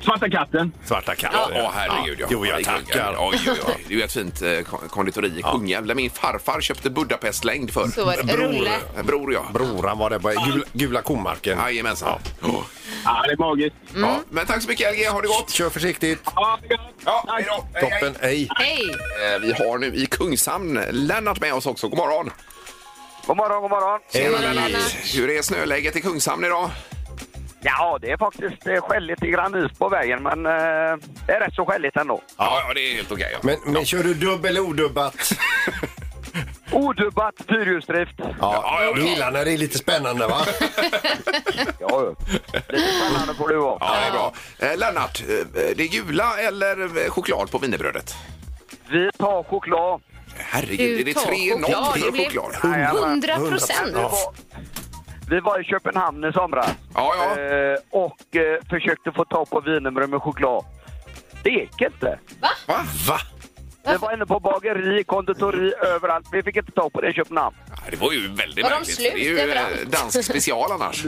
Speaker 8: Svarta katten.
Speaker 5: Svarta
Speaker 4: Ja,
Speaker 5: katten.
Speaker 4: herregud. Ja.
Speaker 5: Jo, jag
Speaker 4: I Kungälv.
Speaker 5: tackar.
Speaker 4: Oj, oj, oj. Det är ju ett fint eh, kon- konditori i Kungälv där min farfar köpte Budapestlängd för.
Speaker 6: Så var det. Rulle.
Speaker 4: Bror, ja.
Speaker 5: Broran var det på gula, gula komarken.
Speaker 4: Jajamensan. Ja.
Speaker 8: Ja, det är magiskt.
Speaker 6: Mm.
Speaker 4: Ja. Men tack så mycket, LG. Ha det gott.
Speaker 5: Kör försiktigt.
Speaker 8: Ja, det är gott.
Speaker 4: Ja, hej då. Hej, hej.
Speaker 5: Toppen, hej.
Speaker 6: Hej!
Speaker 4: Eh, Vi har nu i Kungshamn Lennart med oss också. God morgon.
Speaker 1: God morgon, god morgon.
Speaker 4: Hur är snöläget i Kungshamn idag?
Speaker 1: Ja, det är faktiskt eh, skälligt i grann ut på vägen, men eh, det är rätt så skälligt ändå.
Speaker 4: Ja, ja det är helt okej. ja.
Speaker 5: Men, men kör du dubb eller odubbat?
Speaker 1: Odubbat fyrhjulsdrift.
Speaker 4: Ja, ja,
Speaker 5: Du
Speaker 4: ja.
Speaker 5: gillar när det är lite spännande, va?
Speaker 1: Ja, lite spännande får det vara.
Speaker 4: Ja, det är bra. Eh, Lennart, eh, det är gula eller eh, choklad på wienerbrödet?
Speaker 1: Vi tar choklad.
Speaker 4: Herregud,
Speaker 6: Du
Speaker 4: är det
Speaker 6: tar
Speaker 4: 3-0
Speaker 6: choklad.
Speaker 4: för
Speaker 6: Det blev-
Speaker 4: choklad?
Speaker 1: Jajamän.
Speaker 6: 100 procent!
Speaker 1: Vi var- Vi var i Köpenhamn i somras
Speaker 4: Ja, ja.
Speaker 1: Eh, och eh, försökte få tag på wienerbröd med choklad. Det gick inte.
Speaker 4: Va? Va?
Speaker 1: Vi var inne på bageri, konditori, överallt. Vi fick inte tag på det i Köpenhamn.
Speaker 4: Ja, Det var ju väldigt
Speaker 6: Var de
Speaker 4: märkligt.
Speaker 6: slut
Speaker 4: det är ju eh,
Speaker 6: överallt?
Speaker 4: dansk special annars.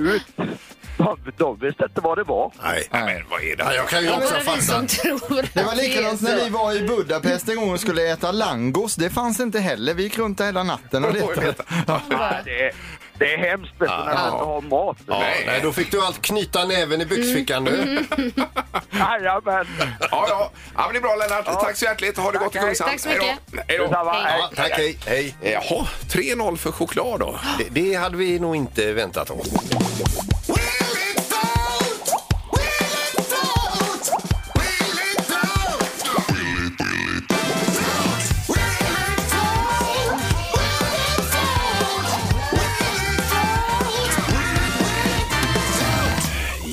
Speaker 1: De, de visste inte vad det var.
Speaker 5: Nej.
Speaker 4: Nej, men vad är det?
Speaker 5: Ja, jag kan ju
Speaker 6: Det liksom-
Speaker 5: också
Speaker 6: var vi
Speaker 5: fatta.
Speaker 6: som tror att
Speaker 7: Det var
Speaker 6: är
Speaker 7: likadant
Speaker 6: så.
Speaker 7: när vi var i Budapest en gång och skulle äta langos. Det fanns inte heller. Vi gick runt där hela natten och letade.
Speaker 1: Nej, det, är, det är hemskt vet du, när man inte har mat.
Speaker 5: Ja,
Speaker 4: Nej.
Speaker 5: nej, då fick du allt knyta näven i byxfickan nu.
Speaker 1: Jajamän!
Speaker 4: Ja, ja. ja men det är bra Lennart. Tack så hjärtligt. Ha det gott i Kungshamn.
Speaker 6: Tack så mycket.
Speaker 4: Hej då. Hej då.
Speaker 1: Detsamma.
Speaker 6: Hej.
Speaker 5: Ja, tack, hej. hej.
Speaker 4: Jaha, 3-0 för choklad då.
Speaker 5: Det, det hade vi nog inte väntat oss.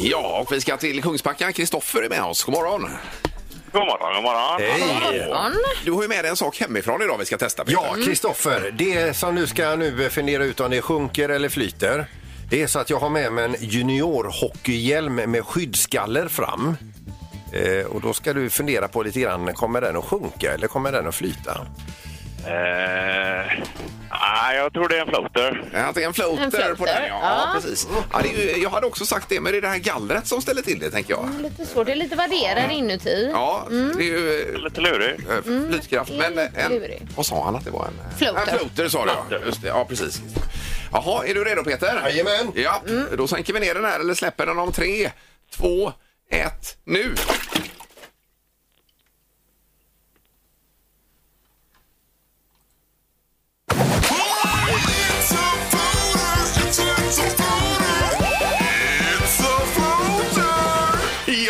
Speaker 4: Ja, och vi ska till Kungsbacka. Kristoffer är med oss. God morgon.
Speaker 1: God morgon, god morgon.
Speaker 5: Hej!
Speaker 4: Du har ju med dig en sak hemifrån idag vi ska testa. Peter.
Speaker 5: Ja, Kristoffer, det som du ska nu fundera ut om det sjunker eller flyter. Det är så att jag har med mig en juniorhockeyhjälm med skyddsgaller fram. Eh, och då ska du fundera på lite grann, kommer den att sjunka eller kommer den att flyta?
Speaker 1: Eh, nej, jag tror det är en floater.
Speaker 4: Att det är en floater,
Speaker 6: En floater,
Speaker 4: på den. Ja,
Speaker 6: ja.
Speaker 4: ja. precis. Ja, det är ju, jag hade också sagt det, men det är det här gallret som ställer till det, tänker jag.
Speaker 6: Lite svårt. Det är lite värderar inuti.
Speaker 4: Ja, det är ju eh,
Speaker 1: Lite lurig.
Speaker 4: eh, flytkraft. Men
Speaker 6: det är
Speaker 4: eh, en,
Speaker 6: lurig.
Speaker 4: vad sa han att det var? En eh,
Speaker 6: Floater.
Speaker 4: En floater sa du, ja. Just det, ja, precis. Jaha, är du redo Peter?
Speaker 5: Jajamän.
Speaker 4: Ja, då sänker vi ner den här eller släpper den om tre, två, ett, nu! Ja!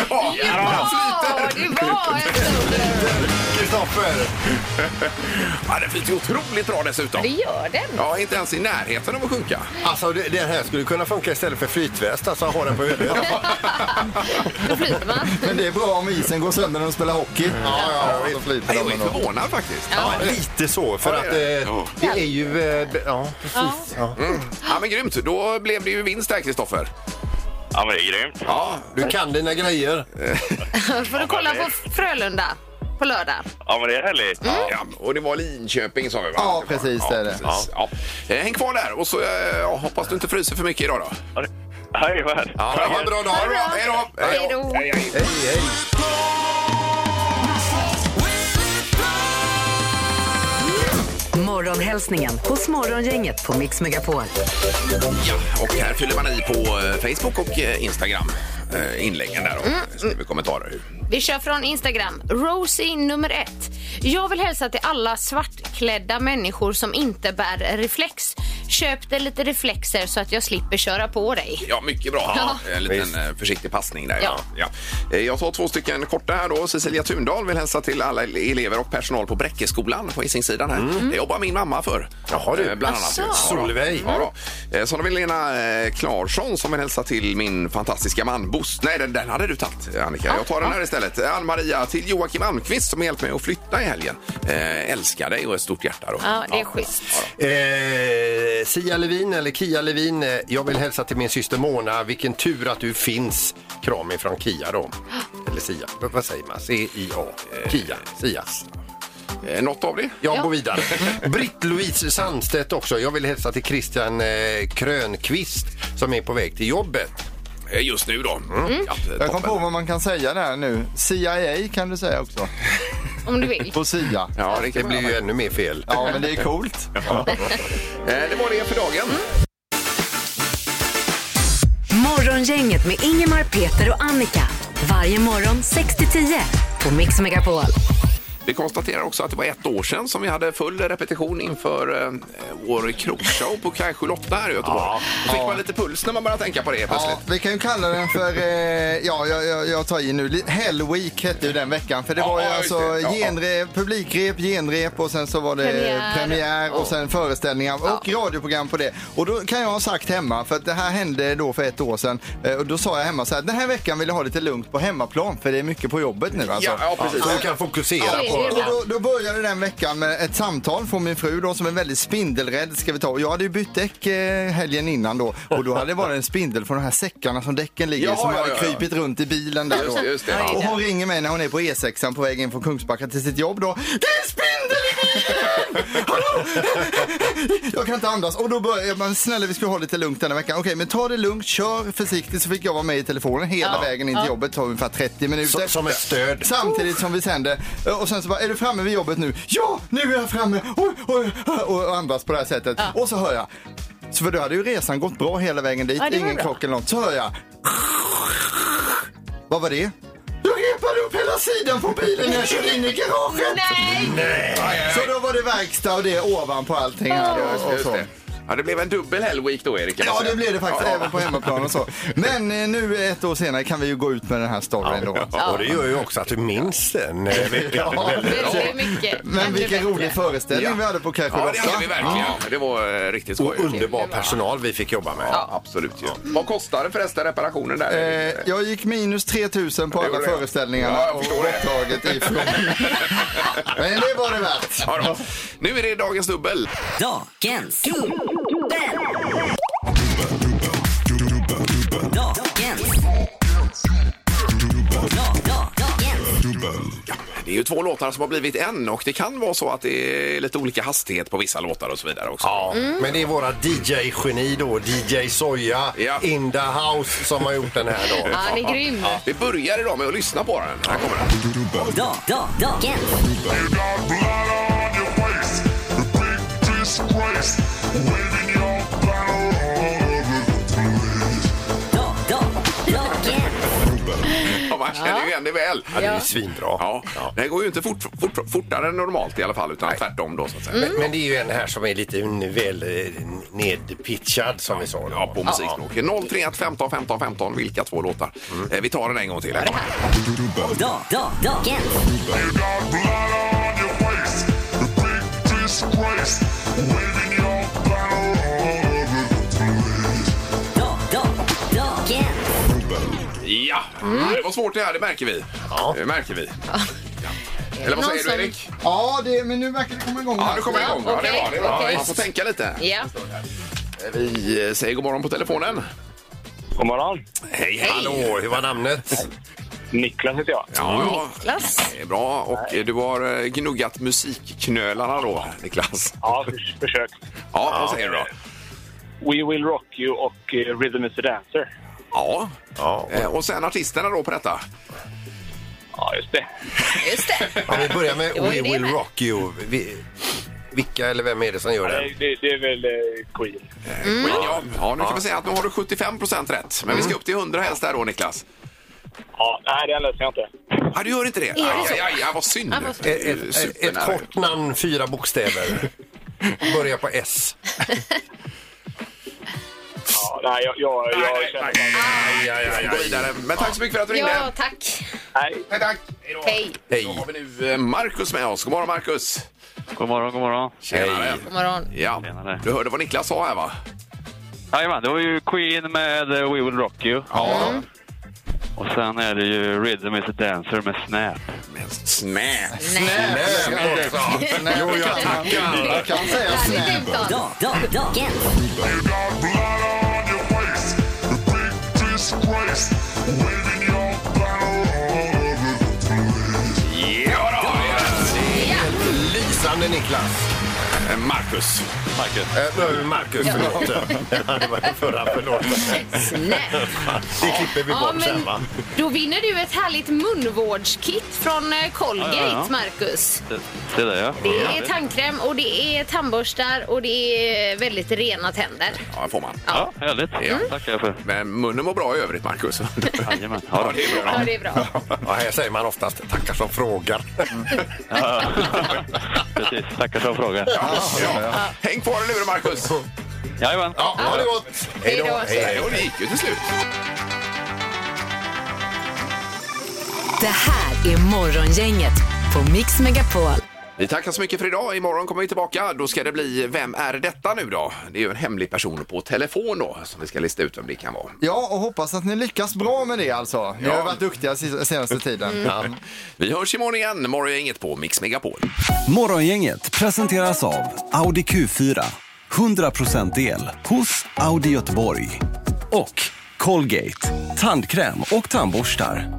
Speaker 6: Ja, det var en solar.
Speaker 5: Kristoffer!
Speaker 4: ja, den flyter ju otroligt bra dessutom.
Speaker 6: Det gör den.
Speaker 4: Ja, inte ens i närheten av att sjunka.
Speaker 5: Alltså det, det här skulle kunna funka istället för flytväst, alltså ha den på huvudet.
Speaker 6: Då flyter man.
Speaker 7: Men det är bra om isen går sönder när de spelar hockey.
Speaker 5: Ja, ja,
Speaker 7: Då
Speaker 5: visst.
Speaker 7: flyter
Speaker 4: Nej,
Speaker 7: de
Speaker 4: Jag är
Speaker 7: ändå.
Speaker 4: förvånad faktiskt.
Speaker 5: Ja, lite så, för
Speaker 4: Ja,
Speaker 5: att
Speaker 4: det är det.
Speaker 5: eh, det är ju... eh, b- Ja, precis. Ja.
Speaker 4: Ja, men grymt. Då blev det ju vinst där, Kristoffer.
Speaker 6: Mm.
Speaker 1: Ja, men det är grymt.
Speaker 4: Ja,
Speaker 5: Du kan dina grejer.
Speaker 6: Får du kolla på Frölunda på lördag?
Speaker 1: Ja, men det är härligt.
Speaker 4: Ja, och det var Linköping sa vi va?
Speaker 7: Ja, precis, det är det.
Speaker 4: precis. Ja. Eh, Häng kvar där och så eh, ja, hoppas du inte fryser för mycket idag då.
Speaker 1: Hej, vad
Speaker 4: Ja, ha en bra dag.
Speaker 6: Ha det bra.
Speaker 4: Hej då.
Speaker 6: Hej då.
Speaker 4: Hej, hej.
Speaker 7: Hej, hej.
Speaker 3: Morgonhälsningen hos Morgongänget på Mix Megapol.
Speaker 4: Ja, och här fyller man i på eh, Facebook och eh, Instagram eh, inläggen där och
Speaker 6: Mm,
Speaker 4: skriver kommentarer.
Speaker 6: Vi kör från Instagram. Rosie nummer ett. Jag vill hälsa till alla svartklädda människor som inte bär reflex. Köp dig lite reflexer så att jag slipper köra på dig.
Speaker 4: Ja, mycket bra.
Speaker 6: Ja.
Speaker 4: En liten
Speaker 5: Visst.
Speaker 4: eh, försiktig passning där.
Speaker 6: Ja.
Speaker 4: Ja. Eh, Jag tar två stycken korta här då. Cecilia Thundahl vill hälsa till alla ele- elever och personal på Bräckeskolan på Hisingssidan här. Det jobbar min mamma för.
Speaker 5: Mm. Jaha, du.
Speaker 4: Eh, Bland annat.
Speaker 6: Asså.
Speaker 4: Ja, då.
Speaker 5: Solveig.
Speaker 4: Ja, då. Eh, Så har vi Lena eh, Klarsson som vill hälsa till min fantastiska man Bosse. Nej, den, den hade du tagit eh, Annika. Jag tar den här istället. Eh, Ann-Maria till Joakim Almqvist som har hjälpt mig att flytta i helgen. Eh, älskar dig och ett stort hjärta då.
Speaker 6: Ja, det är schysst.
Speaker 5: Eh, Sia Levin, eller Kia Levin, eh, jag vill hälsa till min syster Mona. Vilken tur att du finns. Kram ifrån Kia då. Eller Sia, V- vad säger man? C-I-A. Kia, Sia.
Speaker 4: Eh, Något av det?
Speaker 5: Jag
Speaker 6: Ja.
Speaker 5: går vidare. Britt-Louise Sandstedt också. Jag vill hälsa till Christian eh, Krönqvist som är på väg till jobbet.
Speaker 4: Eh, Just nu då.
Speaker 6: Mm.
Speaker 4: Ja,
Speaker 7: Jag kom
Speaker 4: toppen.
Speaker 7: på vad man kan säga där nu. CIA kan du säga också.
Speaker 6: Om du vill.
Speaker 7: På SIA.
Speaker 4: Ja, det,
Speaker 5: Det
Speaker 4: kan man
Speaker 5: blir
Speaker 4: göra.
Speaker 5: ju ännu mer fel.
Speaker 7: Ja, men det är coolt.
Speaker 4: Eh, det var det för dagen.
Speaker 5: Mm.
Speaker 3: Morgongänget med Ingemar, Peter och Annika. Varje morgon 6 till 10 på Mix Megapol.
Speaker 4: Vi konstaterar också att det var ett år sedan som vi hade full repetition inför eh, vår krogshow på Kajsjö Lotta här i Göteborg. Då fick man lite puls när man började tänka på det plötsligt.
Speaker 7: Ja, vi kan ju kalla den för, eh, ja jag, jag, jag tar i nu, Li- Hell Week hette ju den veckan. För det
Speaker 4: Ja,
Speaker 7: var ju
Speaker 4: just
Speaker 7: alltså
Speaker 4: det. Ja, ja.
Speaker 7: genrep, publikrep, genrep och sen så var det
Speaker 6: Premiär.
Speaker 7: premiär, och sen föreställningar och radioprogram på det. Och då kan jag ha sagt hemma, för att det här hände då för ett år sedan. eh, Och då sa jag hemma så här, den här veckan vill jag ha lite lugnt på hemmaplan för det är mycket på jobbet nu alltså.
Speaker 4: Ja, ja, precis.
Speaker 5: Så du kan fokusera
Speaker 6: Ja, det är
Speaker 5: på...
Speaker 6: det.
Speaker 7: Och då, då började den veckan med ett samtal från min fru då, som är väldigt spindelrädd. Ska vi ta. Och Jag hade ju bytt däck eh, helgen innan då och då hade det varit en spindel från de här säckarna som däcken ligger
Speaker 4: Ja,
Speaker 7: i som
Speaker 4: ja,
Speaker 7: hade
Speaker 4: ja, ja.
Speaker 7: krypit runt i bilen där
Speaker 4: Just
Speaker 7: då.
Speaker 4: det, just det.
Speaker 7: Och hon ringer mig när hon är på E6 på väg in från Kungsbacka till sitt jobb då. Det är en spindel i bilen! Hallå! Jag kan inte andas. Och då börjar jag, men snälla vi ska ha lite lugnt denna veckan. Okej, men ta det lugnt, kör försiktigt så fick jag vara med i telefonen hela vägen in till jobbet. Det tar ungefär 30 minuter.
Speaker 5: Som- Som ett stöd.
Speaker 7: Samtidigt som vi sänder. eh, Och sen så bara, är du framme vid jobbet nu? Ja, nu är jag framme! Oj, oj, oj, och andas på det här sättet. Och så hör jag. Så för då hade ju resan gått bra hela vägen dit.
Speaker 6: Ja, det var
Speaker 7: Ingen
Speaker 6: bra.
Speaker 7: krock eller något. Så hör jag. Vad var det? Jag repade upp hela sidan på bilen när jag körde in i garaget.
Speaker 6: Nej!
Speaker 7: Så då var det verkstad och det ovanpå allting här. Och, och
Speaker 4: Just
Speaker 7: så.
Speaker 4: det. Ja, det blev en dubbel hellweek då, Erik. kan man
Speaker 7: Ja,
Speaker 4: säga.
Speaker 7: det blev det faktiskt även på hemmaplan och så. Men eh, nu ett år senare kan vi ju gå ut med den här storyn då.
Speaker 5: Och det gör ju också att du minns den eh, veckan.
Speaker 6: Väldigt mycket.
Speaker 7: Men
Speaker 6: Ännu
Speaker 7: vilken
Speaker 6: bättre.
Speaker 7: rolig föreställning vi hade på Kajsjö
Speaker 4: Ja, det
Speaker 7: Lotta.
Speaker 4: hade vi verkligen. Det var eh, riktigt skoj.
Speaker 5: Och underbar personal vi fick jobba med.
Speaker 4: Ja, absolut ju. Vad kostade förresten reparationen där?
Speaker 7: Eh, jag gick minus 3000 på
Speaker 4: Det
Speaker 7: alla
Speaker 4: gjorde jag.
Speaker 7: föreställningarna
Speaker 4: Ja, jag
Speaker 7: och
Speaker 4: förstår det.
Speaker 7: borttaget ifrån. Men det var det värt.
Speaker 4: Ja, då. Nu är det dagens dubbel.
Speaker 3: Dagens dubbel. Dagens. Dagens.
Speaker 4: Det är ju två låtar som har blivit en och det kan vara så att det är lite olika hastighet på vissa låtar och så vidare också.
Speaker 5: Ja, men det är våra DJ-geni då, DJ Soja,
Speaker 4: Ja.
Speaker 5: In the House, som har gjort den här
Speaker 6: Ja,
Speaker 5: dagen.
Speaker 6: han är grym.
Speaker 4: Vi börjar idag med att lyssna på den. Här kommer den.
Speaker 3: Da- da- Dagens.
Speaker 10: You got blood on your waist, the big disgrace, waving your banner all over the place.
Speaker 3: Da- da- Dagens.
Speaker 4: Ja, man känner ju igen det väl.
Speaker 5: Ja, det är ju svinbra.
Speaker 4: Ja. Det här går ju inte fort, fort, fortare än normalt i alla fall, utan tvärtom då så att säga.
Speaker 6: Mm.
Speaker 5: Men- Men det är ju en här som är lite väl eh, nedpitchad som vi sa. då.
Speaker 4: Ja, Mm. på musikspråket. 031 15 15 15, vilka två låtar? Eh, Vi tar den en gång till. Här kommer den.
Speaker 3: Da- da- Dagens.
Speaker 10: You got blood on disgrace, waving your banner all over the place.
Speaker 4: Ja,
Speaker 6: Mm.
Speaker 4: det var svårt det här, det märker vi. Det märker vi. Eller vad
Speaker 6: Någon
Speaker 4: säger du
Speaker 6: som-
Speaker 4: Erik?
Speaker 7: Ja, det, men nu verkar det komma igång.
Speaker 4: Ja,
Speaker 7: här.
Speaker 4: nu kommer det igång. Ja, det är bra, det är bra.
Speaker 6: okej.
Speaker 4: Man får tänka lite.
Speaker 6: Ja.
Speaker 4: Vi eh, säger god morgon på telefonen.
Speaker 8: God morgon.
Speaker 4: Hej, hej.
Speaker 5: Hallå, hur var namnet?
Speaker 8: Niklas heter jag.
Speaker 4: Ja, ja,
Speaker 6: Klass.
Speaker 4: det är bra. Och eh, du har eh, gnuggat musikknölarna då, Niklas.
Speaker 8: Ja, försök.
Speaker 4: Ja, vad säger du då?
Speaker 8: We Will Rock You och eh, Rhythm is a Dancer.
Speaker 4: Ja.
Speaker 5: Ja.
Speaker 4: Eh, Och sen artisterna då på detta.
Speaker 8: Ja, just det.
Speaker 6: Just det.
Speaker 5: Om vi börjar med
Speaker 6: Det var ju
Speaker 5: We
Speaker 6: det
Speaker 5: Will
Speaker 6: med.
Speaker 5: Rock You. Vi, vilka eller vem är det som gör
Speaker 8: Ja,
Speaker 5: den?
Speaker 8: Det, det är väl eh, Queen.
Speaker 4: Queen, Ja, ja, nu kan vi säga att nu har du 75 procent rätt. Men vi ska upp till 100 helst där då, Niklas.
Speaker 8: Ja, nej, det löser jag inte.
Speaker 4: Ja, du gör inte det? Är
Speaker 6: det så?
Speaker 4: Ja, ja, vad synd.
Speaker 6: vad synd.
Speaker 4: Det är ju
Speaker 5: Ett, ett, ett
Speaker 4: supernära.
Speaker 5: kort namn, fyra bokstäver. Börjar på S.
Speaker 8: Ja, nej, jag, jag, jag
Speaker 4: Nej, nej,
Speaker 8: känner
Speaker 4: nej.
Speaker 8: bara-
Speaker 4: Gå vidare. Men tack så mycket för att du ringde.
Speaker 6: Ja, tack.
Speaker 8: Nej,
Speaker 4: Tack, tack.
Speaker 6: Hej.
Speaker 4: Då har vi nu eh, Marcus med oss. God morgon, Marcus.
Speaker 1: God morgon, god morgon.
Speaker 4: Tjenare.
Speaker 6: God morgon.
Speaker 4: Ja,
Speaker 1: Tjenare.
Speaker 4: du hörde vad Niklas sa här, va?
Speaker 1: Jajamän, det var ju Queen med eh, We Will Rock You.
Speaker 4: Ja.
Speaker 1: Och sen är det ju Rhythm is a Dancer med Snap.
Speaker 4: Men snäpp.
Speaker 6: Nej.
Speaker 7: Jo, jag tackar. Jag kan säga snäll.
Speaker 6: Härligt uttal.
Speaker 10: You got blood on your face, big disgrace, waving your banner all over the place.
Speaker 4: Ja, då är det
Speaker 5: Lysande Niklas.
Speaker 4: Eh, Marcus.
Speaker 9: Marcus.
Speaker 5: Eh, nu, Marcus, förlåt. det var den förra, förlåt.
Speaker 6: Snäll.
Speaker 5: Det klipper vi
Speaker 6: Ja,
Speaker 5: bort sen
Speaker 6: men
Speaker 5: va?
Speaker 6: då vinner du ett härligt munvårdskit från eh, Colgate,
Speaker 1: Ja, ja, ja.
Speaker 6: Marcus.
Speaker 1: Se där, ja.
Speaker 6: Det är tandkräm och det är tandborstar och det är väldigt rena tänder.
Speaker 4: Ja, får man.
Speaker 1: Ja, härligt.
Speaker 4: Ja.
Speaker 1: Tackar jag för.
Speaker 4: Men munnen mår bra i övrigt, Marcus.
Speaker 1: Jajamän.
Speaker 4: Ja, det är bra.
Speaker 6: Ja, det är bra.
Speaker 5: Ja, här säger man oftast tackar som frågar.
Speaker 1: Precis. Tackar som frågar.
Speaker 4: Ja. Häng kvar i luren, Marcus.
Speaker 1: Jajamän.
Speaker 5: Ja, ha det gott! Hej då!
Speaker 6: Hej då.
Speaker 5: Hej, hej.
Speaker 4: Och det gick ju till slut.
Speaker 3: Det här är Morgongänget på Mix Megapol.
Speaker 4: Vi tackar så mycket för idag. Imorgon kommer vi tillbaka. Då ska det bli Vem är detta nu då? Det är ju en hemlig person på telefon då som vi ska lista ut vem det kan vara.
Speaker 7: Ja, och hoppas att ni lyckas bra med det alltså. Ni har
Speaker 4: Ja. Mm.
Speaker 7: ju varit duktiga si- senaste tiden.
Speaker 4: Vi hörs imorgon igen. Morgon är inget på Mix Megapol.
Speaker 12: Morgongänget presenteras av Audi Q4. 100% el hos Audi Göteborg. Och Colgate. Tandkräm och tandborstar.